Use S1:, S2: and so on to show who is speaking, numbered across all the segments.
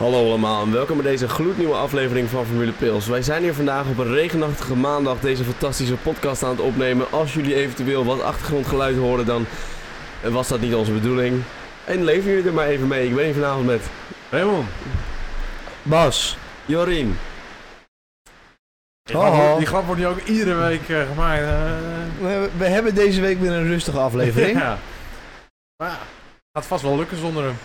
S1: Hallo allemaal en welkom bij deze gloednieuwe aflevering van Formule Pils. Wij zijn hier vandaag op een regenachtige maandag deze fantastische podcast aan het opnemen. Als jullie eventueel wat achtergrondgeluid horen, dan was dat niet onze bedoeling. En leven jullie er maar even mee. Ik ben hier vanavond met
S2: Raymond.
S3: Bas.
S1: Jorien.
S2: Die grap
S3: Hallo.
S2: wordt- Die grap wordt nu ook iedere week eh, gemaakt. eh.
S3: We, we hebben deze week weer een rustige aflevering.
S2: Ja. Maar ja, gaat vast wel lukken zonder hem.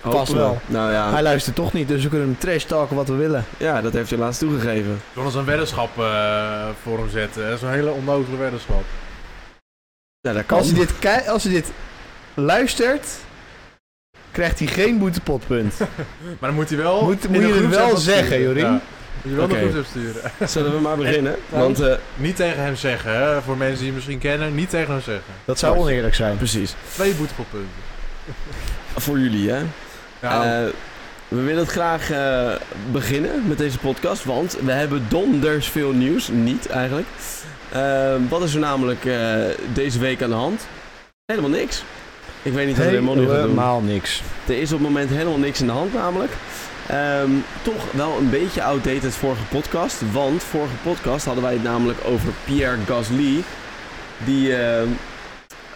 S3: Past wel.
S1: Nou ja.
S3: Hij luistert toch niet, dus we kunnen hem trash talken wat we willen.
S1: ja, dat heeft hij laatst toegegeven.
S2: Ik wil eens een weddenschap eh, voor hem zetten. Dat is een hele onnozele weddenschap.
S1: Ja, dat kan.
S3: Als hij dit, kei- als hij dit luistert, krijgt hij geen boetepotpunt.
S2: Maar dan moet hij wel...
S3: Moet-
S2: in
S3: moet
S2: de
S3: je het
S2: groepsapp
S3: wel
S2: wat sturen.
S3: zeggen, Jorien?
S2: Ja. Moet je wel
S1: Oké.
S2: de groepsapp sturen.
S1: Zullen we maar beginnen? Want, eh,
S2: Niet tegen hem zeggen, hè. Voor mensen die hem misschien kennen, niet tegen hem zeggen.
S3: Dat zou oneerlijk zijn.
S1: precies.
S2: Twee boetepotpunten.
S1: Voor jullie, hè?
S2: Ja,
S1: Eh, we willen het graag eh, beginnen met deze podcast, want we hebben donders veel nieuws. Niet eigenlijk. Eh, wat is er namelijk eh, deze week aan de hand? Helemaal niks. Ik weet niet wat helemaal nu
S3: eh,
S1: gaat doen.
S3: Helemaal niks.
S1: Er is op het moment helemaal niks in de hand namelijk. Ehm, toch wel een beetje outdated vorige podcast. Want vorige podcast hadden wij het namelijk over Pierre Gasly. Die ehm,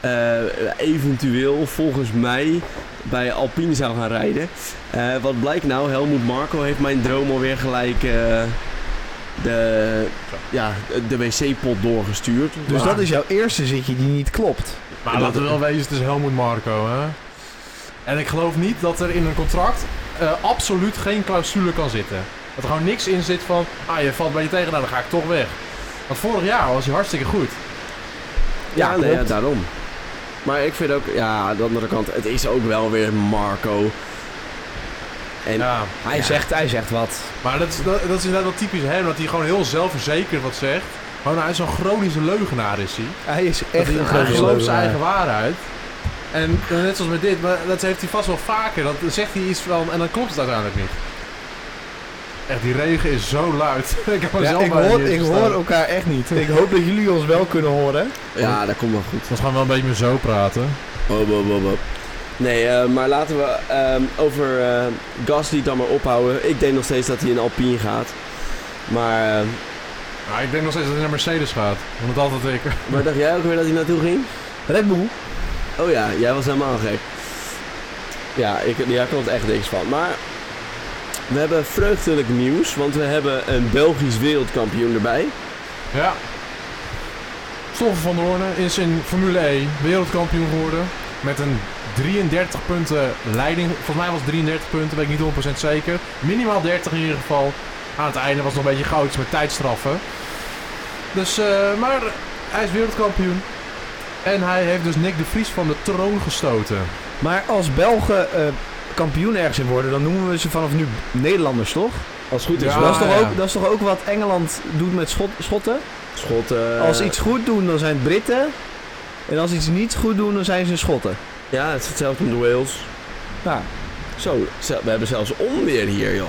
S1: eh, eventueel volgens mij bij Alpine zou gaan rijden. Eh, wat blijkt nou? Helmoet Marco heeft mijn droom alweer gelijk eh, de, ja, de wc-pot doorgestuurd.
S3: Dus
S2: Maar-
S3: dat is jouw eerste zitje die niet klopt.
S2: maar laten we wel wezen, het is Helmoet Marco, hè. En ik geloof niet dat er in een contract eh, absoluut geen clausule kan zitten. Dat er gewoon niks in zit van, ah, je valt bij je tegen, nou, dan ga ik toch weg. Want vorig jaar was hij hartstikke goed.
S1: Ja,
S3: Ja,
S1: nee,
S3: klopt.
S1: ja, daarom. Maar ik vind ook, ja, aan de andere kant, het is ook wel weer Marco. En
S2: Ja.
S1: hij
S3: Hij,
S1: zegt,
S3: zegt, hij zegt wat.
S2: Maar dat is, dat, dat is inderdaad wel typisch hem, dat hij gewoon heel zelfverzekerd wat zegt. Gewoon, hij is zo'n chronische leugenaar, is hij.
S3: Hij is
S2: Dat
S3: echt
S2: hij-
S3: een
S2: hij
S3: grote
S2: gelooft zijn
S3: leugenaar.
S2: eigen waarheid. En eh, net zoals met dit, maar dat heeft hij vast wel vaker. Dat dan zegt hij iets van en dan klopt het uiteindelijk niet. Echt, die regen is zo luid. ik heb
S3: Ja,
S2: mezelf
S3: ik
S2: bijna
S3: hoor,
S2: niet
S3: ik
S2: verstaan.
S3: hoor elkaar echt niet. Ik hoop dat jullie ons wel kunnen horen.
S1: ja, dat komt wel goed.
S2: Dat gaan we wel een beetje zo praten.
S1: Bo, bo, bo, bo. Nee, eh, maar laten we ehm, over eh Gasly dan maar ophouden. Ik denk nog steeds dat hij in Alpine gaat. Maar eh,
S2: Nou, ik denk nog steeds dat hij naar Mercedes gaat. Want dat altijd ik.
S1: waar dacht jij ook weer dat hij naartoe ging?
S3: Red Bull.
S1: Oh ja, jij was helemaal gek. Ja, ik, ja, ik kon het echt niks van. Maar we hebben vreugdelijk nieuws, want we hebben een Belgisch wereldkampioen erbij.
S2: Ja. Stoffel van der Hoorn is in Formule 1 wereldkampioen geworden. Met een 33 punten leiding. Volgens mij was het 33 punten, weet ik niet 100% zeker. Minimaal 30 in ieder geval. Aan het einde was het nog een beetje goud met tijdstraffen. Dus, eh, maar hij is wereldkampioen. En hij heeft dus Nick de Vries van de troon gestoten.
S3: Maar als Belgen eh, kampioen ergens in worden, dan noemen we ze vanaf nu Nederlanders, toch?
S1: Als het goed is,
S2: Ja,
S1: wel.
S3: dat, is toch
S2: ja.
S3: ook, dat is toch ook wat Engeland doet met Schot- Schotten?
S1: Schotten.
S3: als ze iets goed doen, dan zijn het Britten. En als ze iets niet goed doen, dan zijn ze Schotten. Nou,
S1: Ja, het is hetzelfde met de Wales.
S3: Ja.
S1: Zo, ze- we hebben zelfs onweer hier, joh.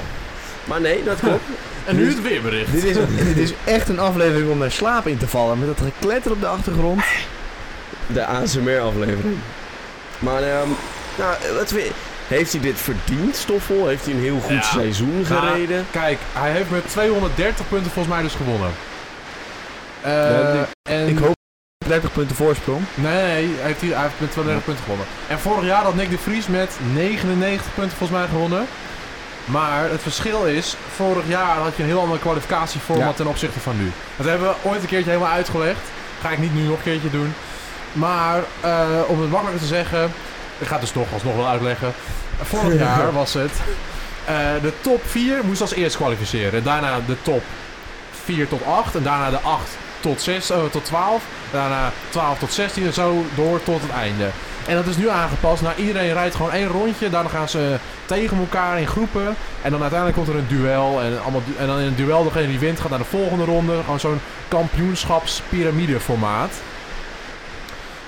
S1: Maar nee, dat klopt.
S2: En nu het weerbericht.
S3: Dit is, dit is echt een aflevering om naar slaap in te vallen. Met dat gekletter op de achtergrond.
S1: De ASMR-aflevering. Maar, ehm, nou, wat we- heeft hij dit verdiend, Stoffel? Heeft hij een heel goed
S2: Ja.
S1: seizoen
S2: Ja.
S1: gereden?
S2: Kijk, hij heeft met 230 punten volgens mij dus gewonnen. Eh,
S3: Ja,
S2: en...
S3: Ik hoop 30 punten voorsprong.
S2: Nee, hij heeft, hier- hij heeft met 32 punten gewonnen. En vorig jaar had Nick de Vries met 99 punten volgens mij gewonnen. Maar het verschil is, vorig jaar had je een heel ander kwalificatieformat
S3: Ja.
S2: ten opzichte van nu. Dat hebben we ooit een keertje helemaal uitgelegd. Ga ik niet nu nog een keertje doen. Maar eh, om het makkelijker te zeggen, ik ga het dus toch alsnog wel uitleggen. Vorig jaar was het, eh, de top 4 moest als eerst kwalificeren. Daarna de top 4 tot 8 en daarna de 8 tot, 6, eh, tot 12. Daarna 12 eh, tot 16 en zo door tot het einde. En dat is nu aangepast. Nou, iedereen rijdt gewoon één rondje. Daarna gaan ze tegen elkaar in groepen. En dan uiteindelijk komt er een duel. En, allemaal du- en dan in het duel degene die wint gaat naar de volgende ronde. Gewoon zo'n kampioenschapspiramide formaat.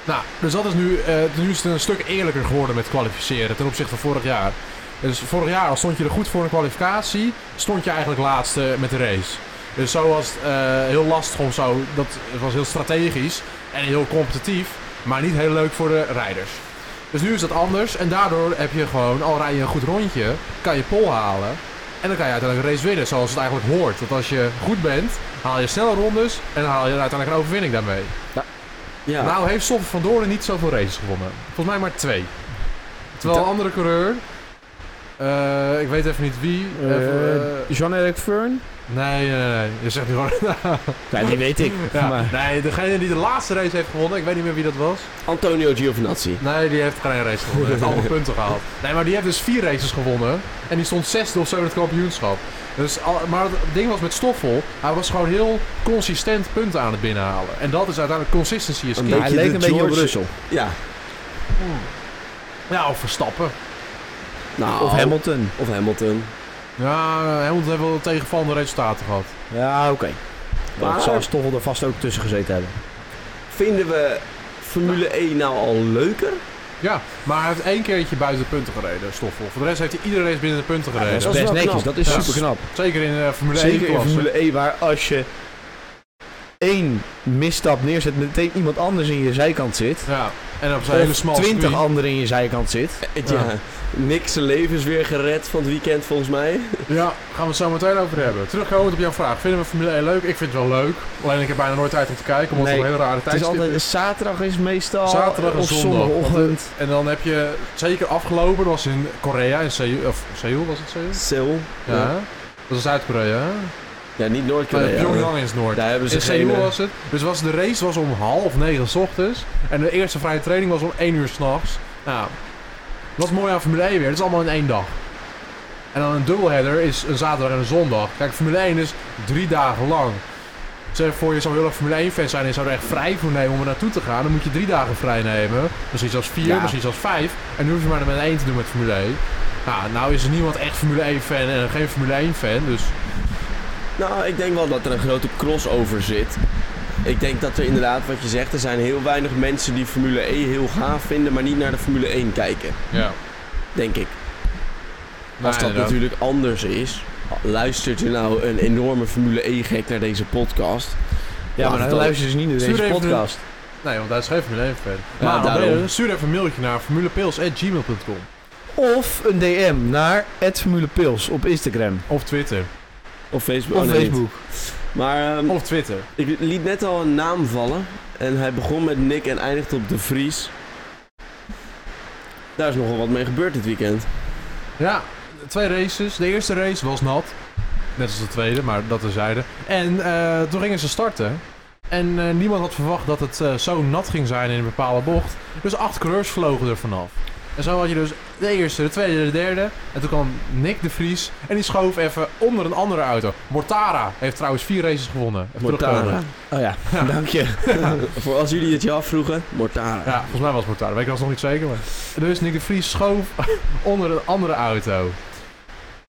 S2: Nou, dus dat is nu, eh, nu is het een stuk eerlijker geworden met kwalificeren ten opzichte van vorig jaar. Dus vorig jaar al stond je er goed voor een kwalificatie, stond je eigenlijk laatste met de race. Dus zo was het eh, heel lastig om zo, dat het was heel strategisch en heel competitief, maar niet heel leuk voor de rijders. Dus nu is dat anders en daardoor heb je gewoon, al rij je een goed rondje, kan je pol halen. En dan kan je uiteindelijk een race winnen, zoals het eigenlijk hoort. Want als je goed bent, haal je snelle rondes en dan haal je uiteindelijk een overwinning daarmee.
S1: Ja.
S2: Nou heeft Stoffel van Doorn niet zoveel races gewonnen. Volgens mij maar twee. Terwijl een
S1: Da-
S2: andere coureur, eh, ik weet even niet wie. even, eh,
S3: Jean-Eric Fern?
S2: nee, nee, nee, je zegt nu gewoon.
S3: Ja, die weet ik.
S2: Ja,
S3: Maar-
S2: Nee, degene die de laatste race heeft gewonnen, ik weet niet meer wie dat was.
S1: Antonio Giovinazzi.
S2: Nee, die heeft geen race gewonnen. Hij heeft allemaal punten gehaald. Nee, maar die heeft dus vier races gewonnen. En die stond zesde of zo in het kampioenschap. Dus, al- maar het ding was met Stoffel, hij was gewoon heel consistent punten aan het binnenhalen. En dat is uiteindelijk consistency is
S1: Een
S2: key.
S3: Hij
S1: je
S3: leek
S1: de
S3: een beetje op
S1: George-
S3: Russell.
S1: Ja.
S2: Ja, of Verstappen.
S1: Nou,
S3: Of Hamilton.
S1: Of Hamilton.
S2: Ja, Hamilton heeft wel tegenvallende resultaten gehad.
S3: Ja, oké.
S1: Maar-
S3: Dat zal Stoffel er vast ook tussen gezeten hebben.
S1: Vinden we Formule 1 nou al leuker?
S2: Ja, maar hij heeft één keertje buiten de punten gereden, Stoffel. Voor de rest heeft hij iedere race binnen de punten
S3: Ja, dat
S2: gereden.
S3: is
S1: dat is
S3: best
S1: wel
S3: netjes.
S1: knap.
S3: Dat is
S2: Ja.
S3: super knap.
S2: Zeker in eh Formule 1
S3: Zeker in
S2: klasse.
S3: Formule 1, waar als je één misstap neerzet, meteen iemand anders in je zijkant zit.
S2: Ja, en op zijn hele
S3: Of
S2: smal
S3: twintig
S2: circuit.
S3: anderen in je zijkant zit.
S1: Eh,
S2: Ja.
S1: Ja. Niks zijn leven is weer gered van het weekend volgens mij.
S2: Ja, gaan we het zo meteen over hebben. Terugkomend op jouw vraag. Vinden we Formule 1 leuk? Ik vind het wel leuk. Alleen ik heb bijna nooit tijd om te kijken, omdat
S3: Nee,
S2: het een hele rare
S3: Het is
S2: tijd
S3: altijd, zaterdag is meestal
S2: Zaterdag en
S3: of
S2: zondag, want
S3: zondagochtend.
S2: En dan heb je zeker afgelopen, dat was in Korea, in Seoul, of Seoul was het Seoul?
S1: Seoul.
S2: Ja. Dat is Zuid-Korea, hè?
S1: Ja, niet
S2: Maar
S1: Noord-Korea.
S2: Pyongyang is Noord.
S1: Daar hebben ze
S2: In Seoul
S1: geen... eh,
S2: was het. Dus was de race was om half negen 's ochtends. En de eerste vrije training was om één uur s'nachts. Nou, dat is mooi aan Formule 1 weer. Het is allemaal in één dag. En dan een dubbelheader is een zaterdag en een zondag. Kijk, Formule 1 is drie dagen lang. Zeg voor je zou heel erg Formule 1 fan zijn en je zou er echt vrij voor nemen om er naartoe te gaan. Dan moet je drie dagen vrij nemen. Misschien zelfs vier,
S3: Ja.
S2: misschien zelfs vijf. En nu hoef je maar er met één te doen met Formule 1. Nou, nou is er niemand echt Formule 1 fan en geen Formule 1 fan. Dus
S1: Nou, ik denk wel dat er een grote crossover zit. Ik denk dat er inderdaad, wat je zegt, er zijn heel weinig mensen die Formule 1 heel gaaf vinden, maar niet naar de Formule 1 kijken.
S2: ja.
S1: Denk ik. Als dat
S2: natuurlijk.
S1: natuurlijk anders is, luistert er nou een enorme Formule 1 gek naar deze podcast.
S3: Ja, maar
S1: Laat
S3: dan
S1: het
S3: luisteren ze niet naar
S2: Stuur
S3: deze
S2: even
S3: podcast.
S2: Nee, want daar is geen Formule 1 fan.
S1: Ja,
S2: maar André,
S1: daarom.
S2: stuur even een mailtje naar formulepils.gmail.com
S3: Of een DM naar @formulepils op Instagram
S2: Of Twitter.
S1: Of Facebook.
S3: of
S1: oh, nee, niet.
S3: Facebook.
S1: Maar ehm,
S2: Of Twitter.
S1: ik liet net al een naam vallen. En hij begon met Nick en eindigde op De Vries. Daar is nogal wat mee gebeurd dit weekend.
S2: Ja, twee races. De eerste race was nat. Net als de tweede, maar dat terzijde. En eh, toen gingen ze starten. En eh, niemand had verwacht dat het eh, zo nat ging zijn in een bepaalde bocht. Dus acht coureurs vlogen er vanaf. En zo had je dus de eerste, de tweede, de derde. En toen kwam Nick de Vries. En die schoof even onder een andere auto. Mortara heeft trouwens vier races gewonnen. Even terugkomen.
S1: Mortara.
S3: Oh ja, dank je.
S1: Voor als jullie het je afvroegen, Mortara.
S2: Ja, volgens mij was het Mortara. Weet ik alsnog niet zeker, maar... Dus Nick de Vries schoof onder een andere auto.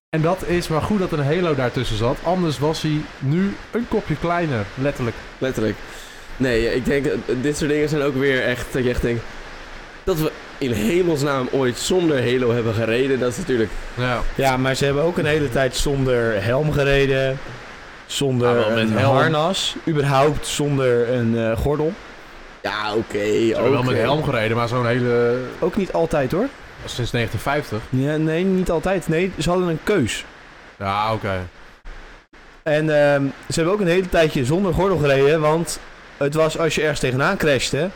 S2: En dat is maar goed dat er een halo daartussen zat. Anders was hij nu een kopje kleiner, letterlijk.
S1: Letterlijk. Nee, ik denk, eh, dit soort dingen zijn ook weer echt, dat je echt denkt... Dat we in hemelsnaam ooit zonder Halo hebben gereden, dat is natuurlijk...
S2: Ja,
S3: Ja, maar ze hebben ook een hele tijd zonder helm gereden. Zonder
S2: Ja, wel met
S3: een
S2: helm.
S3: harnas. Überhaupt zonder een eh, gordel.
S1: Ja, oké,
S2: we hebben wel
S1: oké.
S2: met helm gereden, maar zo'n hele...
S3: Ook niet altijd hoor.
S2: Sinds 1950.
S3: Ja, nee, niet altijd. Nee, ze hadden een keus.
S2: Ja, oké.
S3: En ehm, ze hebben ook een hele tijdje zonder gordel gereden. Want het was als je ergens tegenaan crashte.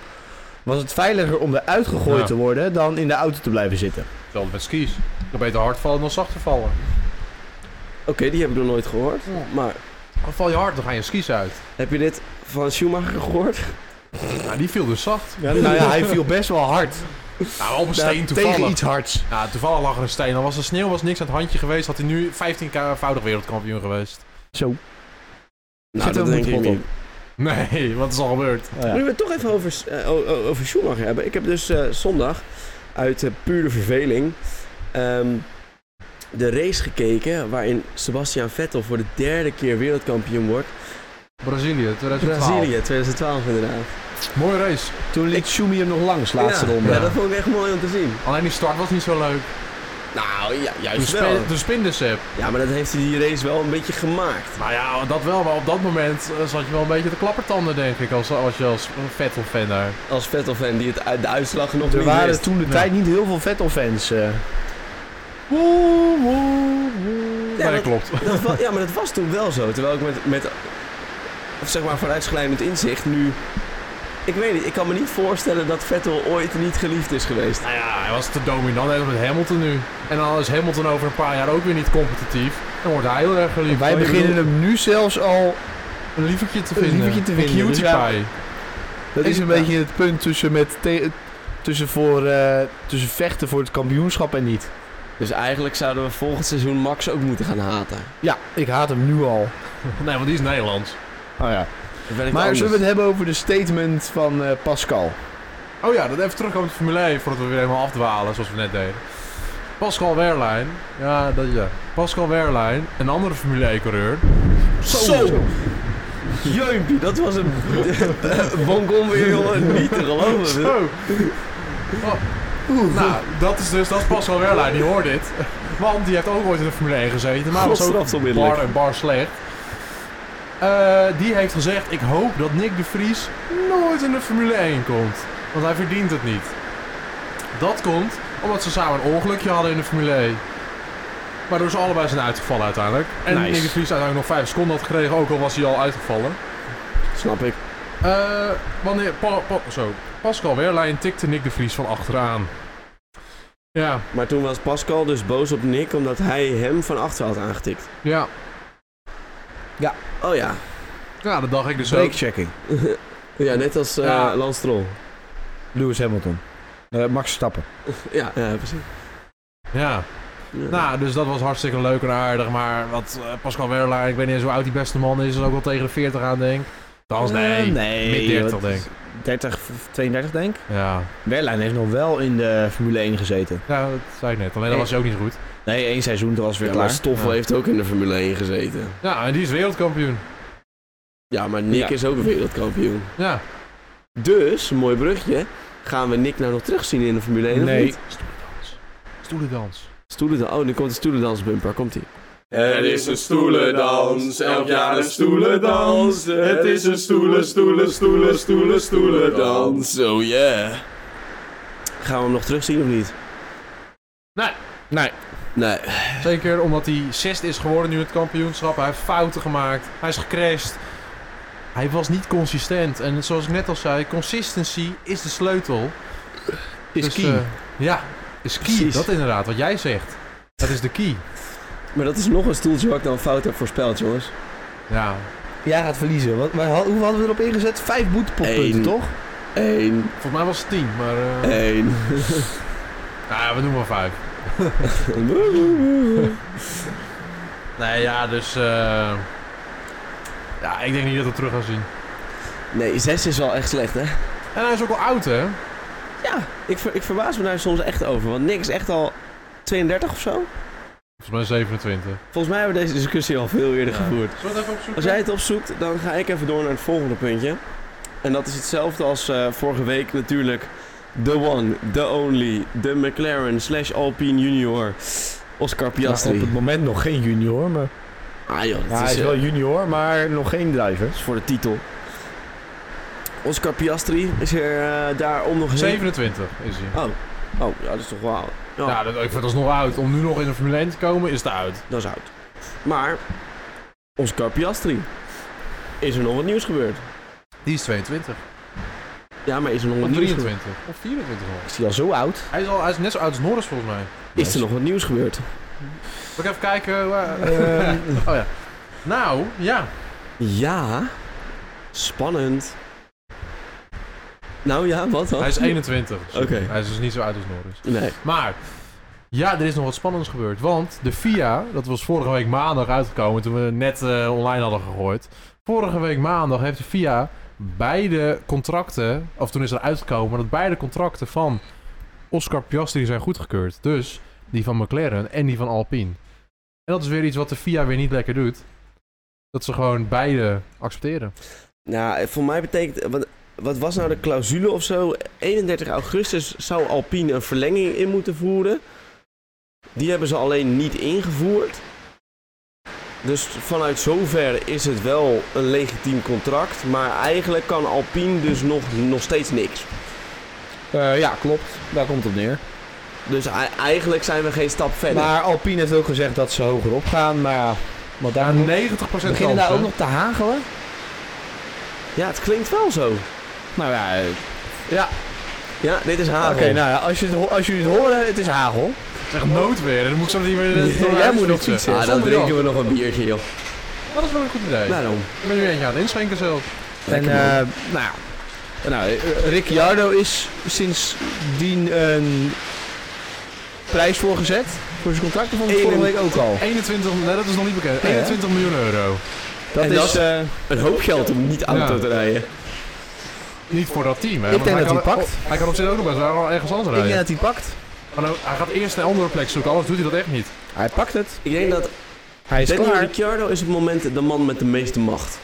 S3: Was het veiliger om eruit gegooid
S2: Ja.
S3: te worden dan in de auto te blijven zitten?
S2: Hetzelfde met skis. Dan beter hard vallen dan zachter vallen.
S1: Oké, die heb ik nog nooit gehoord. Maar
S2: Dan val je hard, dan gaan je skis uit.
S1: heb je dit van Schumacher gehoord?
S2: Nou, die viel dus zacht.
S3: nou ja, hij viel best wel hard.
S2: Nou, op een
S3: Ja,
S2: steen
S3: tegen
S2: toevallig.
S3: iets hards.
S2: Ja, toevallig lag er een steen. Dan was de sneeuw was niks aan het handje geweest. Had hij nu 15-voudig wereldkampioen geweest.
S3: Zo.
S1: Nou,
S3: Zit er
S1: dat
S3: een
S1: denk ik
S3: moedpot
S1: niet.
S3: op?
S2: Nee, wat is al gebeurd?
S3: Oh ja.
S1: Nu we het toch even over, eh, o- o- over Schumacher hebben. Ik heb dus eh, zondag uit eh, pure verveling ehm, de race gekeken waarin Sebastian Vettel voor de derde keer wereldkampioen wordt.
S2: Brazilië, 2012.
S1: Brazilië 2012 inderdaad.
S2: Mooie race.
S3: Toen liet Schumi hem nog langs, laatste
S1: ja,
S3: ronde.
S1: Ja, dat vond ik echt mooi om te zien.
S2: Alleen die start was niet zo leuk.
S1: Nou, ja,
S2: De,
S1: juist wel.
S2: spin, de spindecep.
S1: Ja, maar dat heeft hij die race wel een beetje gemaakt.
S2: Nou ja, dat wel, maar op dat moment eh, zat je wel een beetje te klappertanden, denk ik, als, als je als Vettel-fan daar.
S1: Als Vettel-fan die het, uit- de uitslag nog
S3: Er
S1: niet
S3: waren
S1: wist.
S3: toen de
S2: Ja.
S3: tijd niet heel veel Vettel-fans. eh.
S2: Woe, woe, woe.
S1: Ja,
S2: Ja,
S1: dat-
S2: dat klopt.
S1: Dat wa- ja, maar dat was toen wel zo. Terwijl ik met, met of zeg maar, vooruitschrijdend inzicht nu... Ik weet niet, ik kan me niet voorstellen dat Vettel ooit niet geliefd is geweest.
S2: Nou ja, hij was te dominant net als met Hamilton nu. En dan is Hamilton over een paar jaar ook weer niet competitief. Dan wordt hij heel erg geliefd.
S3: Wij
S2: Ik
S3: beginnen
S2: bedoel,
S3: hem nu zelfs al.
S2: een lievertje te
S3: een
S2: vinden.
S3: lievertje te vinden,
S2: cutie
S3: dus ja.
S2: pie.
S3: Dat is een
S1: Ja.
S3: beetje het punt tussen, met te- tussen, voor, eh, tussen vechten voor het kampioenschap en niet.
S1: Dus eigenlijk zouden we volgend seizoen Max ook moeten gaan haten.
S3: Ja, ik haat hem nu al.
S2: Nee, want die is Nederlands.
S3: Oh ja.
S1: Dat werkt
S3: Maar
S1: anders.
S3: zullen we het hebben over de statement van eh, Pascal?
S2: Oh ja, dat even terugkomen op de Formule 1 voordat we weer helemaal afdwalen zoals we net deden. Pascal Wehrlein. Ja, dat ja. Pascal Wehrlein, een andere Formule 1 coureur.
S1: Zo! Jeumpie, dat was een... Bongon weer, jongen. Niet te geloven.
S2: Zo. Oh. Nou, dat is dus, dat is Pascal Wehrlein, die hoort dit. Want die heeft ook ooit in de Formule 1 gezeten, maar was ook
S1: Godstraft onmiddellijk.
S2: bar en bar slecht. Eh, die heeft gezegd, ik hoop dat Nick de Vries nooit in de Formule 1 komt. Want hij verdient het niet. Dat komt omdat ze samen een ongelukje hadden in de Formule 1. Waardoor ze allebei zijn uitgevallen uiteindelijk. En
S1: Nice.
S2: Nick de Vries uiteindelijk nog 5 seconden had gekregen, ook al was hij al uitgevallen.
S1: Snap ik.
S2: Eh, wanneer, pa, Pa- zo, Pascal Wehrlein tikte Nick de Vries van achteraan. Ja,
S1: Maar toen was Pascal dus boos op Nick omdat hij hem van achter had aangetikt.
S2: ja.
S1: Oh ja.
S2: Ja, dat dacht ik dus ook.
S3: Breakchecking.
S1: Ja, net als eh
S2: Ja.
S1: Lance Stroll.
S3: Lewis Hamilton. Eh, Max Stappen.
S1: Ja, ja precies.
S2: Ja.
S1: Ja.
S2: Nou, dus dat was hartstikke leuk en aardig. Maar wat eh, Pascal Wehrlein, ik weet niet eens hoe oud die beste man is. Is ook wel tegen de 40 aan, denk ik. Trouwens, nee.
S3: Eh, nee
S2: mid 30
S3: wat-
S2: denk ik.
S3: 30, v- 32 denk ik.
S2: Ja.
S3: Berlijn heeft nog wel in de Formule 1 gezeten.
S2: ja, dat zei ik net. Alleen dat was hij ook niet goed.
S3: Nee, één seizoen, dat was weer
S1: Ja, maar
S3: klaar.
S1: Stoffel
S2: Ja.
S1: heeft ook in de Formule 1 gezeten.
S2: Ja, en die is wereldkampioen.
S1: Ja, maar Nick
S3: Ja.
S1: is ook een wereldkampioen.
S2: Ja.
S1: Dus, een mooi brugje. Gaan we Nick nou nog terugzien in de Formule 1
S3: Nee.
S1: of niet?
S2: Stoelendans. Stoelendans.
S1: Stoelendans. Oh, nu komt de stoelendansbumper. Komt ie.
S4: Het is een stoelendans, elk jaar een stoelendans. Het is een stoelen, stoelen, stoelen, stoelen, stoelendans.
S1: Oh yeah. Gaan we hem nog terugzien of niet?
S3: Nee.
S1: Nee.
S2: Zeker omdat hij zesde is geworden nu in het kampioenschap. Hij heeft fouten gemaakt. Hij is gecrashed. Hij was niet consistent. En zoals ik net al zei, consistency is de sleutel.
S3: Is
S2: Dus,
S3: key.
S2: eh, ja, is key.
S1: Precies.
S2: Dat inderdaad, wat jij zegt. Dat is de key.
S1: Maar dat is nog een stoeltje wat ik dan fout heb voorspeld, jongens.
S2: Ja,
S3: Jij gaat verliezen. Wat, waar had- hoe hadden we erop ingezet? Vijf boetepotpunten,
S1: Eén.
S3: toch? Nou,
S1: Eén,
S2: volgens mij was het 10, maar eh,
S1: één.
S2: nou ja, we doen maar 5. Nee, ja, dus eh, ja, ik denk niet dat we het terug gaan zien.
S1: nee, zes is wel echt slecht, hè?
S2: En hij is ook al oud, hè?
S1: Ja, ik, ver- ik verbaas me daar soms echt over. Want Nick is echt al 32 of zo.
S2: Volgens mij 27.
S1: Volgens mij hebben we deze discussie al veel eerder
S2: Ja.
S1: gevoerd.
S2: Zullen we het even opzoeken?
S1: Als jij het opzoekt, dan ga ik even door naar het volgende puntje. En dat is hetzelfde als eh, vorige week natuurlijk. The one, the only, de McLaren slash Alpine junior. Oscar
S3: Nou,
S1: Piastri.
S3: op het moment nog geen junior, maar...
S1: Ah joh, dat
S3: Ja,
S1: is,
S3: hij is
S1: eh,
S3: wel junior, maar nog geen driver.
S1: dat is voor de titel. Oscar Piastri is er eh, daar om nog heen.
S2: 27 is hij.
S1: Oh, ja, dat is toch wel oud. Ja,
S2: Ja, dat, ik vind dat is nog oud. Om nu nog in de Formule 1 te komen, is het oud.
S1: dat is oud. Maar, Oscar Piastri. Is er nog wat nieuws gebeurd?
S2: Die is 22.
S1: Ja, maar is er nog wat
S2: Of
S1: nieuws gebeurd?
S2: 23. Of 24 nog.
S3: Is hij al zo oud?
S2: Hij is, al, hij is net zo oud als Norris volgens mij.
S1: Is er nog wat nieuws gebeurd?
S2: Moet ik even kijken waar...
S3: Ehm.
S2: oh ja. Nou, ja.
S1: Ja. Spannend. Nou ja, wat dan?
S2: Hij is 21. dus
S1: Oké.
S2: Hij is dus niet zo oud als Norris.
S1: Nee.
S2: Maar, ja, er is nog wat spannends gebeurd. Want de FIA, dat was vorige week maandag uitgekomen toen we het net eh, online hadden gegooid. Vorige week maandag heeft de FIA beide contracten, of toen is er uitgekomen dat beide contracten van Oscar Piastri zijn goedgekeurd. Dus die van McLaren en die van Alpine. En dat is weer iets wat de FIA weer niet lekker doet. Dat ze gewoon beide accepteren.
S1: Nou, voor mij betekent... Wat, wat was nou de clausule of zo? 31 augustus zou Alpine een verlenging in moeten voeren. Die hebben ze alleen niet ingevoerd. Dus vanuit zover is het wel een legitiem contract. Maar eigenlijk kan Alpine dus nog, nog steeds niks.
S3: Eh, ja, klopt. Daar komt het op neer.
S1: Dus ei- eigenlijk zijn we geen stap verder.
S3: Maar Alpine heeft ook gezegd dat ze hoger op gaan. Maar ja, wat daar nog-
S2: 90% kans.
S3: Beginnen daar
S2: hè?
S3: ook nog te hagelen?
S1: Ja, het klinkt wel zo.
S3: Nou ja, eh, ja.
S1: Ja, dit is
S3: Oké,
S1: hagel.
S3: nou ja, als, je het, ho- als jullie het horen, het is hagel.
S2: Zeg noodweer. Dan moet ik zo meteen weer... door naar
S3: Jij
S2: huis
S3: moet nog
S2: fietsen.
S3: fietsen.
S1: Ah, dan drinken we nog een biertje, joh. Nou,
S2: Dat is wel een goed idee.
S1: Daarom.
S2: Ik ben nu eentje aan het inschenken zelf.
S3: En
S1: Lekker,
S3: eh, nou, ja. nou, eh, Ricciardo is sindsdien een prijs voorgezet voor zijn contract. Of vond ik
S1: Eén-
S3: vorige week ook al.
S2: 21... Nee, dat is nog niet bekend.
S3: Nee, hè?
S2: 21 miljoen euro.
S3: Dat
S1: en
S3: is,
S1: dat-
S3: eh,
S1: Een hoop geld om niet auto
S2: Ja.
S1: te rijden.
S2: Niet voor dat team, hè.
S3: Ik
S2: want
S3: denk dat
S2: kan,
S3: hij pakt.
S2: oh, Hij kan op zich ook nog best wel ergens anders
S3: ik denk
S2: rijden.
S3: dat hij pakt.
S2: Maar nou, hij gaat eerst een andere plek zoeken, anders doet hij dat echt niet.
S3: Hij pakt het.
S1: Ik denk dat
S3: Hij is
S1: Daniel
S3: klaar.
S1: Ricciardo is op het moment de man met de meeste macht.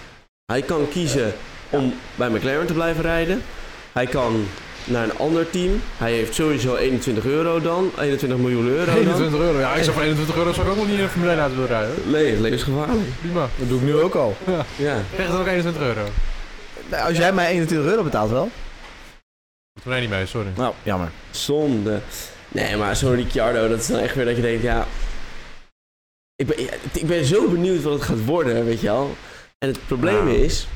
S1: Hij kan kiezen om bij McLaren te blijven rijden. Hij kan naar een ander team. Hij heeft sowieso 21 euro dan. 21 miljoen euro dan.
S2: 21 euro. Ja, ik zou voor 21 euro zou ik ook nog niet in de Formule 1 uit willen rijden.
S1: Nee, het leven is gevaarlijk.
S2: Prima.
S3: Dat doe ik nu ook al.
S1: Ja.
S2: Krijg dan ook 21 euro.
S3: Nou, als jij mij 21 euro betaalt wel.
S2: Nee, niet mee, sorry.
S3: Nou, jammer.
S1: Zonde. Nee, maar zo'n Ricciardo, dat is dan echt weer dat je denkt, ja... Ik ben, ja, ik ben zo benieuwd wat het gaat worden, weet je wel. En het probleem
S2: Nou.
S1: is,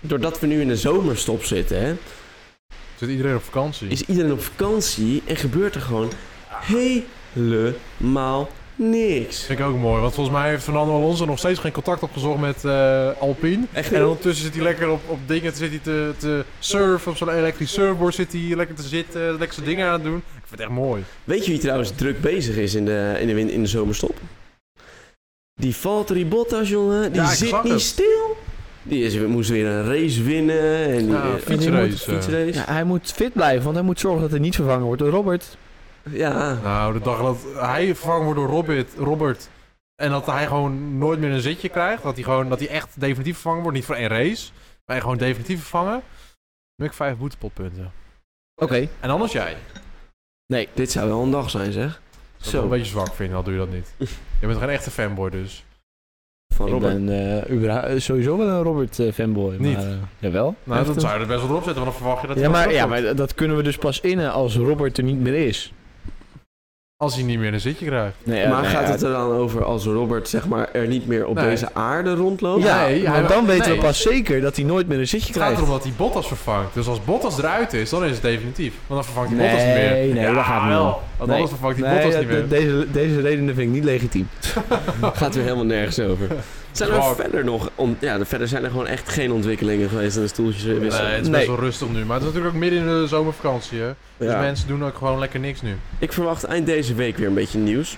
S1: doordat we nu in de zomerstop zitten, hè,
S2: Zit iedereen op vakantie?
S1: is iedereen op vakantie en gebeurt er gewoon helemaal niks.
S2: Vind ik ook mooi, want volgens mij heeft Fernando Alonso nog steeds geen contact opgezocht met eh, Alpine.
S1: Echt
S2: En ondertussen zit hij lekker op, op dingen zit hij te, te surfen, op zo'n elektrisch surfboard zit hij lekker te zitten, lekker zijn dingen aan het doen. Ik vind het echt mooi.
S1: Weet je wie trouwens druk bezig is in de, in de, win- in de zomerstop? Die Valtteri Bottas, jongen, die
S2: Ja, ik
S1: zit
S2: zag
S1: niet
S2: het.
S1: stil. Die is, moest weer een race winnen. En die,
S2: Ja,
S1: eh,
S2: fietsrace,
S1: moet een
S2: eh.
S1: fietsrace.
S3: Ja,
S1: Ja.
S3: hij moet fit blijven, want hij moet zorgen dat hij niet vervangen wordt door Robert.
S2: Nou, de dag dat hij vervangen wordt door Robert, Robert en dat hij gewoon nooit meer een zitje krijgt, dat hij, gewoon, dat hij echt definitief vervangen wordt, niet voor één race, maar gewoon definitief vervangen, dan heb ik vijf boetepotpunten.
S3: Oké.
S2: En anders jij.
S1: dit zou wel een dag zijn, zeg.
S2: Dat ik wel een
S1: Zo,
S2: beetje zwak vind, al doe je dat niet. Je bent geen echte fanboy dus.
S1: van
S3: Ik
S1: Robert.
S3: ben eh, überha- eh, sowieso wel een Robert eh, fanboy.
S2: Niet.
S3: Maar, eh, jawel.
S2: Nou,
S3: Echt
S2: dat
S3: een-
S2: zou je er best wel op zetten, want dan verwacht je dat hij
S3: ja,
S2: wel
S3: maar,
S2: terug
S3: ja,
S2: wordt.
S3: maar dat kunnen we dus pas innen als Robert er niet meer is.
S2: Als hij niet meer een zitje krijgt.
S3: Nee, ja,
S1: maar
S3: nee,
S1: gaat
S3: ja,
S1: het er dan over als Robert zeg maar, er niet meer op
S2: Nee.
S1: deze aarde rondloopt?
S3: Ja,
S2: Nee,
S3: want
S2: hij-
S3: dan weten
S2: nee.
S3: we pas zeker dat hij nooit meer een zitje
S2: Het gaat
S3: krijgt.
S2: erom dat hij Bottas vervangt. Dus als Bottas eruit is, dan is het definitief. Want dan vervangt hij
S3: Nee,
S2: Bottas niet meer.
S3: nee,
S2: ja,
S3: dat gaat niet.
S2: wel. Want
S3: Nee.
S2: anders vervangt hij
S3: Nee,
S2: Bottas
S3: dat-
S2: niet meer.
S3: Deze, deze redenen vind ik niet legitiem.
S1: Gaat er helemaal nergens over. Zijn er
S2: Gewoon-
S1: verder nog... On, ja, verder zijn er gewoon echt geen ontwikkelingen geweest aan de stoeltjes eh,
S2: Nee,
S1: wisselen.
S2: het is best wel rustig nu. Maar het is natuurlijk ook midden in de zomervakantie, hè. Dus
S1: Ja.
S2: mensen doen ook gewoon lekker niks nu.
S1: Ik verwacht eind deze week weer een beetje nieuws.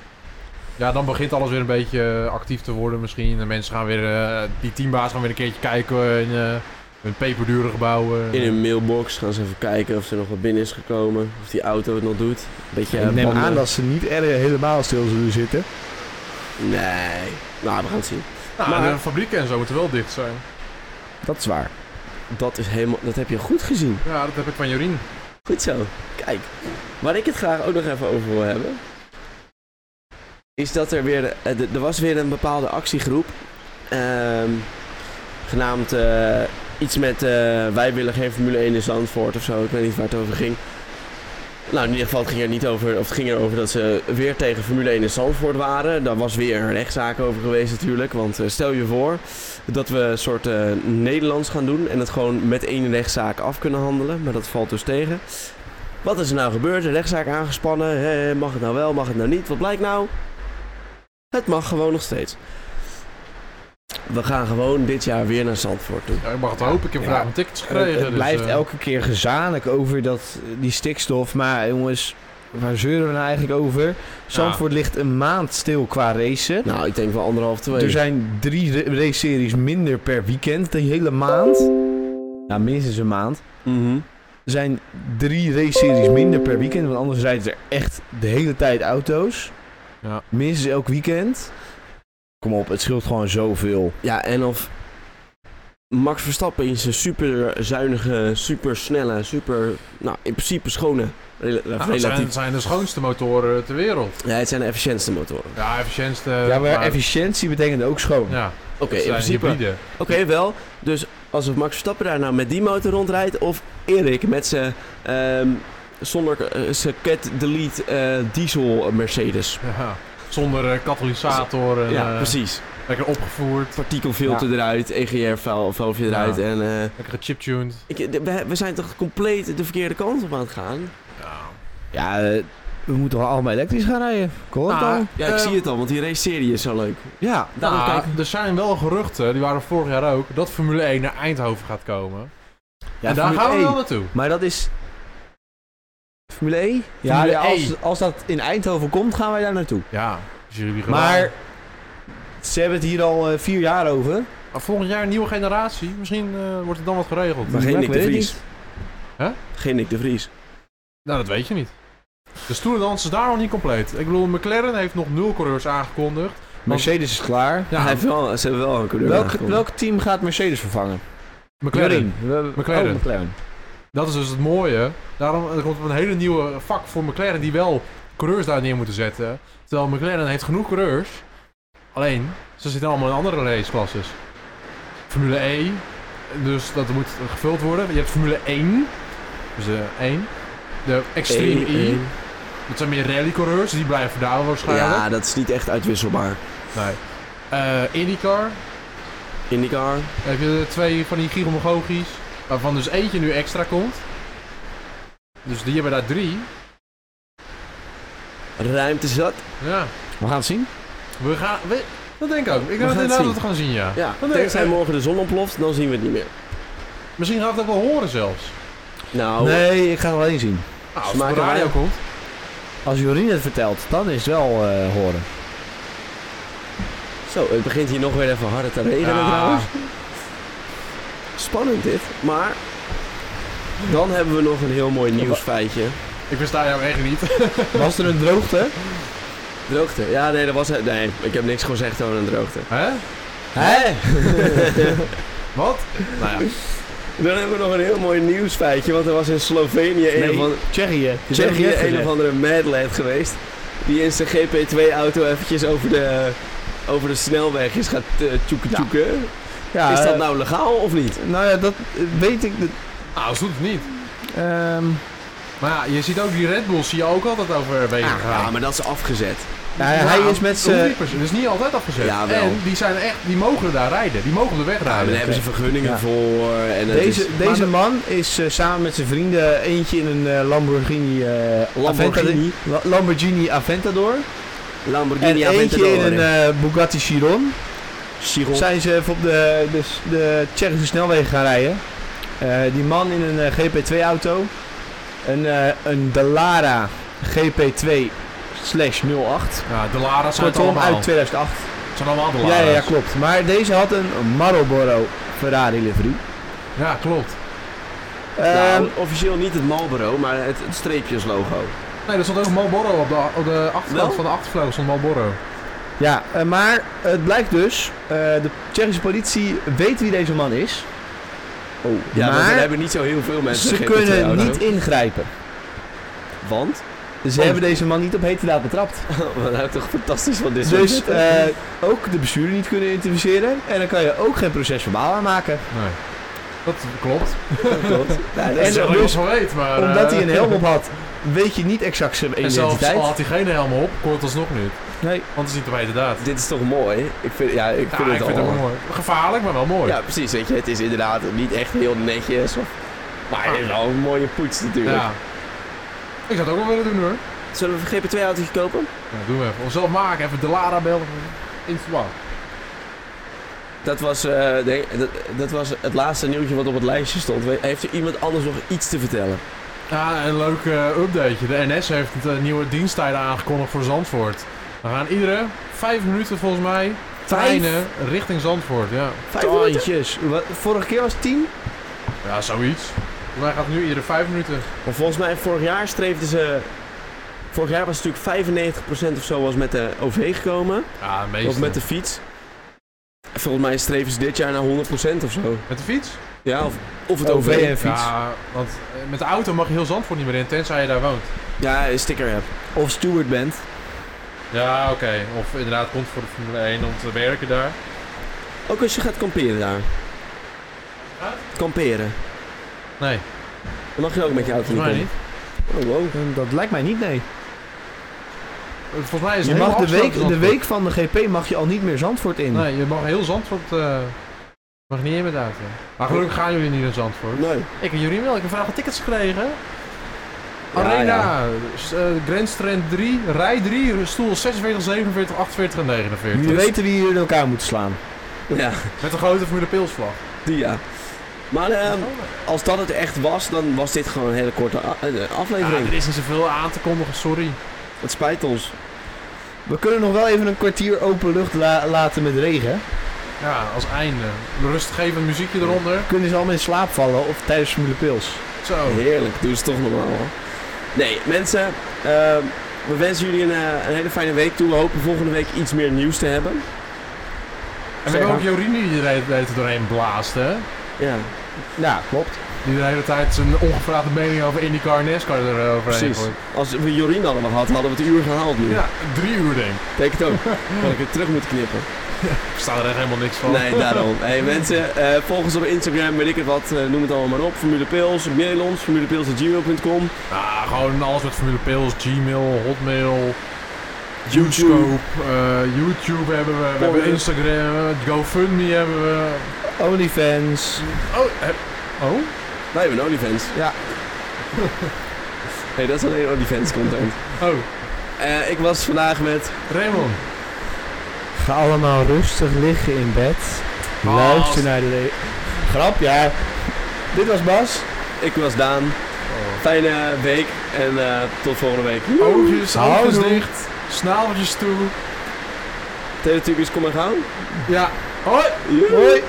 S2: Ja, dan begint alles weer een beetje eh, actief te worden misschien. De mensen gaan weer... eh, die teambaas gaan weer een keertje kijken in eh, hun peperdure gebouwen.
S1: In hun mailbox gaan ze even kijken of er nog wat binnen is gekomen. Of die auto het nog doet. Beetje
S3: ik
S1: eh,
S3: neem
S1: banden.
S3: aan dat ze niet erg helemaal stil zullen zitten.
S1: Nee. Nou, we gaan het zien.
S2: Nou,
S1: maar-
S2: de fabrieken en zo moeten wel dicht zijn.
S3: Dat is waar.
S1: Dat, is helemaal, dat heb je goed gezien.
S2: Ja, dat heb ik van Jorien.
S1: Goed zo. Kijk. Waar ik het graag ook nog even over wil hebben. Is dat er weer... eh, d- Er was weer een bepaalde actiegroep. ehm, genaamd eh, iets met... eh, wij willen geen Formule 1 in Zandvoort of zo. Ik weet niet waar het over ging. Nou, in ieder geval het ging er niet over... Of het ging erover dat ze weer tegen Formule 1 in Zandvoort waren. Daar was weer een rechtszaak over geweest natuurlijk. Want eh, stel je voor dat we een soort eh, Nederlands gaan doen en het gewoon met één rechtszaak af kunnen handelen. Maar dat valt dus tegen. Wat is er nou gebeurd? Een rechtszaak aangespannen. Hé, mag het nou wel, mag het nou niet? Wat blijkt nou? Het mag gewoon nog steeds. We gaan gewoon dit jaar weer naar Zandvoort toe.
S2: Ja, ik mag het hopen. Ik heb
S3: Ja.
S2: vandaag mijn tickets
S3: Het,
S2: gekregen. dus,
S3: blijft
S2: eh,
S3: elke keer gezanik over dat, eh, die stikstof. Maar eh, jongens, waar zeuren we nou eigenlijk over? Zandvoort
S2: Nou.
S3: ligt een maand stil qua racen.
S1: Nou, ik denk wel anderhalf, twee.
S2: Dus
S3: Er zijn drie ra- race-series minder per weekend. De hele maand. Ja,
S2: Nou,
S3: minstens een maand.
S1: Mhm.
S3: Er zijn drie race-series minder per weekend. Want anders rijden er echt de hele tijd auto's.
S2: Ja.
S3: Minstens elk weekend. Kom op, het scheelt gewoon zoveel.
S1: Ja, en of Max Verstappen in zijn super zuinige, super snelle, super, nou in principe schone, rela-
S2: Nou, dat
S1: relatief.
S2: zijn, zijn de schoonste motoren ter wereld.
S1: Ja, het zijn de efficiëntste motoren.
S2: Ja, efficiëntste.
S3: Ja, maar efficiëntie betekent ook schoon.
S2: Ja,
S1: Oké,
S2: het
S1: in
S2: zijn
S1: principe. Oké,
S2: hybride.
S1: wel. Dus als Max Verstappen daar nou met die motor rondrijdt, of Erik met zijn ehm, zonder eh, zijn cat delete eh, diesel Mercedes.
S2: Ja. Zonder eh, katalysator. En,
S1: ja,
S2: eh,
S1: precies.
S2: Lekker opgevoerd.
S1: Partikelfilter eruit, E EGR-velfje eruit
S2: Ja.
S1: en... eh,
S2: Lekker gechiptuned.
S1: ik, de- we, we zijn toch compleet de verkeerde kant op aan het gaan?
S2: Ja.
S3: Ja, eh, we moeten wel allemaal elektrisch gaan rijden. Kom op
S2: Nou,
S3: dan. Eh,
S1: Ja, ik
S2: eh,
S1: zie het al, want die race-serie is zo leuk.
S3: Ja.
S1: Daarom
S2: nou,
S1: kijk-
S2: Er zijn wel geruchten, die waren vorig jaar ook, dat Formule 1 naar Eindhoven gaat komen.
S3: ja
S2: en daar
S3: Formule
S2: gaan we
S3: E.
S2: wel naartoe.
S3: Maar dat is... Formule E? Ja,
S2: Formule
S3: ja, als,
S2: E.
S3: als dat in Eindhoven komt, gaan wij daar naartoe.
S2: Ja, dus jullie hebben
S3: Maar
S2: gedaan.
S3: ze hebben het hier al eh, vier jaar over.
S2: Maar volgend jaar een nieuwe generatie, misschien eh, wordt het dan wat geregeld.
S1: Maar geen
S3: ik
S1: Nick de
S3: weet het
S1: Vries.
S2: Huh?
S1: Geen Nick de Vries.
S2: Nou, dat weet je niet. De stoelendans is daar al niet compleet. Ik bedoel, McLaren heeft nog nul coureurs aangekondigd.
S3: Mercedes is klaar.
S2: Ja,
S1: Hij heeft wel, ze hebben wel een coureur
S3: Welk,
S1: aangekondigd.
S3: welk team gaat Mercedes vervangen?
S2: McLaren.
S3: Jorien. We-
S2: McLaren.
S3: Oh, McLaren.
S2: Dat is dus het mooie. Daarom er komt een hele nieuwe vak voor McLaren die wel coureurs daar neer moeten zetten. Terwijl McLaren heeft genoeg coureurs. Alleen, ze zitten allemaal in andere raceklasses. Formule E, dus dat moet gevuld worden. Je hebt Formule 1, dus de 1. De Extreme
S1: Eén,
S2: E,
S1: één.
S2: dat zijn meer rallycoureurs, die blijven daar waarschijnlijk.
S1: Ja, dat is niet echt uitwisselbaar.
S2: Nee. Eh, IndyCar,
S1: IndyCar.
S2: heb je twee van die gigamagogies, waarvan dus eentje nu extra komt. Dus die hebben daar drie.
S1: Ruimte zat.
S2: Ja,
S3: We gaan het zien.
S2: we gaan... We, dat denk ik ook. Ik denk
S1: gaan
S2: dat
S1: het
S2: inderdaad
S1: zien.
S2: dat we gaan zien, ja.
S1: Ja,
S2: nee,
S1: tenzij
S2: eh.
S1: morgen de zon ontploft, dan zien we het niet meer.
S2: Misschien gaan we het ook wel horen zelfs.
S3: Oh.
S1: Nou,
S3: Nee, ik ga het alleen zien.
S2: Nou,
S1: Ze
S2: als het op de
S1: maken
S2: radio
S1: wel-
S2: komt.
S3: Als Jorien het vertelt, dan is het wel eh, horen.
S1: zo, het begint hier nog weer even harder te regenen
S2: Ja.
S1: trouwens. Spannend dit, maar dan hebben we nog een heel mooi nieuwsfeitje.
S2: Ik versta jou echt niet.
S3: Was er een droogte?
S1: Droogte. Ja, nee, dat was het. Nee, ik heb niks gezegd over een droogte.
S2: Hè?
S3: Hè?
S2: Wat? Nou ja.
S1: Dan hebben we nog een heel mooi nieuwsfeitje, want er was in Slovenië een
S3: Nee,
S1: van
S3: Tsjechië.
S1: Tsjechië een of andere madlad geweest. Die in zijn GP2-auto eventjes over de, over de snelweg is gaat eh, tjoeken
S3: Ja.
S1: tjoeken.
S3: Ja,
S1: is dat
S3: eh,
S1: nou legaal of niet?
S3: Nou ja, dat eh, weet ik. dat-
S2: Nou, zo doet het niet.
S3: ehm,
S2: Maar ja, je ziet ook die Red Bulls, zie je ook altijd over wegen gaan.
S1: Ah, Ja, maar dat is afgezet.
S3: nou, hij is met zijn...
S2: Dat is niet altijd afgezet.
S1: Ja, wel.
S2: en die zijn echt, die mogen daar rijden. Die mogen de weg
S1: Ja, maar
S2: rijden.
S1: daar hebben ze vergunningen
S3: Ja.
S1: voor. eh, En het
S3: Deze,
S1: is-
S3: deze man is eh, samen met zijn vrienden eentje in een eh, Lamborghini, eh,
S1: Lamborghini.
S3: Aventador- La- Lamborghini Aventador. En
S1: Lamborghini
S3: eentje
S1: Aventador.
S3: in een eh, Bugatti Chiron.
S1: Chiron.
S3: Zijn ze even op de, de, de Tsjechische snelwegen gaan rijden. Eh, die man in een eh, GP2-auto. Een, eh een Dallara GP2 slash 08.
S2: Ja, de Lara's zijn het
S3: Kortom,
S2: allemaal.
S3: uit 2008.
S2: Het zijn allemaal de Lara's.
S3: Ja, ja, ja, klopt. Maar deze had een Marlboro Ferrari livery.
S2: Ja, klopt.
S1: Nou,
S3: Ehm, Oh,
S1: officieel niet het Marlboro, maar het, het streepjeslogo.
S2: Nee, er stond ook Marlboro op de, op de achterkant
S1: Wel?
S2: van de achtervleugel stond Marlboro.
S3: ja, eh, maar het blijkt dus, eh, de Tsjechische politie weet wie deze man is.
S1: Oh, ja, maar
S3: maar-
S1: er hebben niet zo heel veel mensen
S3: Ze
S1: een
S3: kunnen
S1: GP2-auto.
S3: niet ingrijpen.
S1: Want?
S3: Ze
S1: Oh.
S3: hebben deze man niet op heterdaad betrapt.
S1: Wat nou toch fantastisch van dit soort
S3: Dus
S1: zetten.
S3: eh, ook de bestuurder niet kunnen identificeren. En dan kan je ook geen proces verbaal aanmaken.
S2: Nee. Dat klopt.
S1: Klopt. Ja, dat
S2: En
S1: is
S2: dat
S3: En
S1: wel-
S2: ik
S3: eh, dus-
S2: dus, wel weet, maar...
S3: Omdat hij een
S2: eh,
S3: helm op had, weet je niet exact zijn
S2: En zelfs
S3: identiteit.
S2: al had hij geen helm op, kon het alsnog niet.
S3: Nee.
S2: Want het is niet op inderdaad.
S1: Dit is toch mooi? Ik vind, ja, ik
S2: Ja,
S1: vind het
S2: ik vind het
S1: al.
S2: ook mooi. Gevaarlijk, maar wel mooi.
S1: ja, precies. Weet je, het is inderdaad niet echt heel netjes. Of, maar het is wel een mooie poets natuurlijk.
S2: Ja. Ik zou het ook wel willen doen hoor.
S1: Zullen we een GP2-autootje kopen?
S2: Ja, doen we even. Onszelf maken, even de Lara bellen. In het zwart.
S1: Dat was, eh, nee, dat, dat was het laatste nieuwtje wat op het lijstje stond. We- Heeft er iemand anders nog iets te vertellen?
S2: Ja, een leuk eh, updateje. De NS heeft het, eh, nieuwe diensttijden aangekondigd voor Zandvoort. We gaan iedere vijf minuten volgens mij treinen richting Zandvoort. Ja,
S1: Vijf minuten?
S3: Tandjes. Wat- Vorige keer was het 10.
S2: ja zoiets. Volgens mij gaat het nu iedere vijf minuten.
S1: Maar volgens mij, vorig jaar streefden ze... Vorig jaar was het natuurlijk 95% of zo was met de OV gekomen.
S2: Ja, meestal.
S1: Of met de fiets. Volgens mij streven ze dit jaar naar 100% of zo.
S2: Met de fiets?
S1: Ja, of, of het
S3: OV
S1: OV.
S3: en fiets.
S2: Ja, want eh, met de auto mag je heel Zandvoort niet meer in, tenzij je daar woont.
S1: Ja, een sticker hebt.
S3: Of steward bent.
S2: Ja, oké. Of inderdaad komt voor de Formule 1 om te werken daar.
S1: Ook als je gaat kamperen daar. Kamperen.
S2: Nee,
S1: Dan mag je ook met je auto
S2: volgens mij
S1: om.
S2: niet.
S1: Oh, wow.
S3: Hm, Dat lijkt mij niet, nee.
S2: Eh, Volgens mij is
S3: Je
S2: het
S3: mag
S2: helemaal
S3: de week,
S2: afgesloten
S3: de week van de GP mag je al niet meer Zandvoort in.
S2: Zandvoort. Nee, je mag heel Zandvoort... eh mag niet in met de auto. Maar gelukkig gaan jullie niet in Zandvoort.
S1: Nee.
S2: Ik en jullie wel. Ik heb vandaag tickets gekregen.
S1: Ja,
S2: Arena, s- eh, Grand Strand 3, rij 3, stoel 46, 47, 48 en 49.
S3: Jullie weten wie jullie in elkaar moeten slaan.
S1: Ja,
S2: Met de grote Formule Pilsvlag.
S1: die ja. Maar ehm, als dat het echt was, dan was dit gewoon een hele korte a- eh,
S2: Ja,
S1: aflevering.
S2: er is niet zoveel aan te kondigen, sorry.
S1: Het spijt ons.
S3: We kunnen nog wel even een kwartier open lucht la- laten met regen.
S2: Ja, als einde. Rustgevend muziekje eronder.
S3: Kunnen ze allemaal in slaap vallen of tijdens Formule Pils.
S2: Zo.
S1: Heerlijk, doe ze toch normaal. hoor. Nee, mensen, ehm, we wensen jullie een, eh, een hele fijne week toe. We hopen volgende week iets meer nieuws te hebben.
S2: En we hebben ook Jorine die er de hele tijd doorheen blaast, hè?
S1: Ja,
S3: Ja, klopt.
S2: Die de hele tijd zijn ongevraagde mening over IndyCar en NASCAR eroverheen
S1: precies.
S2: gooit.
S1: Als we Jorien hadden gehad, hadden we het uur gehaald nu.
S2: Ja, drie uur denk ik.
S1: Denk het ook. Dat ik het terug moet knippen.
S2: Ik versta er echt helemaal niks van.
S1: Nee, daarom. Hey mensen, eh volg ons op Instagram, weet ik het wat, eh, noem het allemaal maar op. Formule Pils, mail ons, formulepils.gmail.com.
S2: Ah, gewoon alles met Formule Pils, Gmail, Hotmail,
S1: YouTube.
S2: Scope, eh, YouTube hebben we, we hebben
S1: Pornhub.
S2: Instagram, GoFundMe hebben we.
S3: OnlyFans.
S2: Oh, heb- oh?
S1: Wij hebben een OnlyFans.
S3: Ja.
S1: hey, dat is alleen OnlyFans content.
S2: Oh,
S1: Eh, ik was vandaag met...
S2: Raymond.
S3: Ga allemaal rustig liggen in bed.
S2: Bas.
S3: Luister naar de... re- Grap, ja. Dit was Bas.
S1: Ik was Daan. Oh. Fijne week en eh, tot volgende week.
S2: Oogjes, oogjes
S3: Houdoe.
S2: dicht, snaveltjes toe.
S1: Teletubbies, kom maar gaan.
S2: Ja, hoi!
S1: Joe.
S3: Hoi.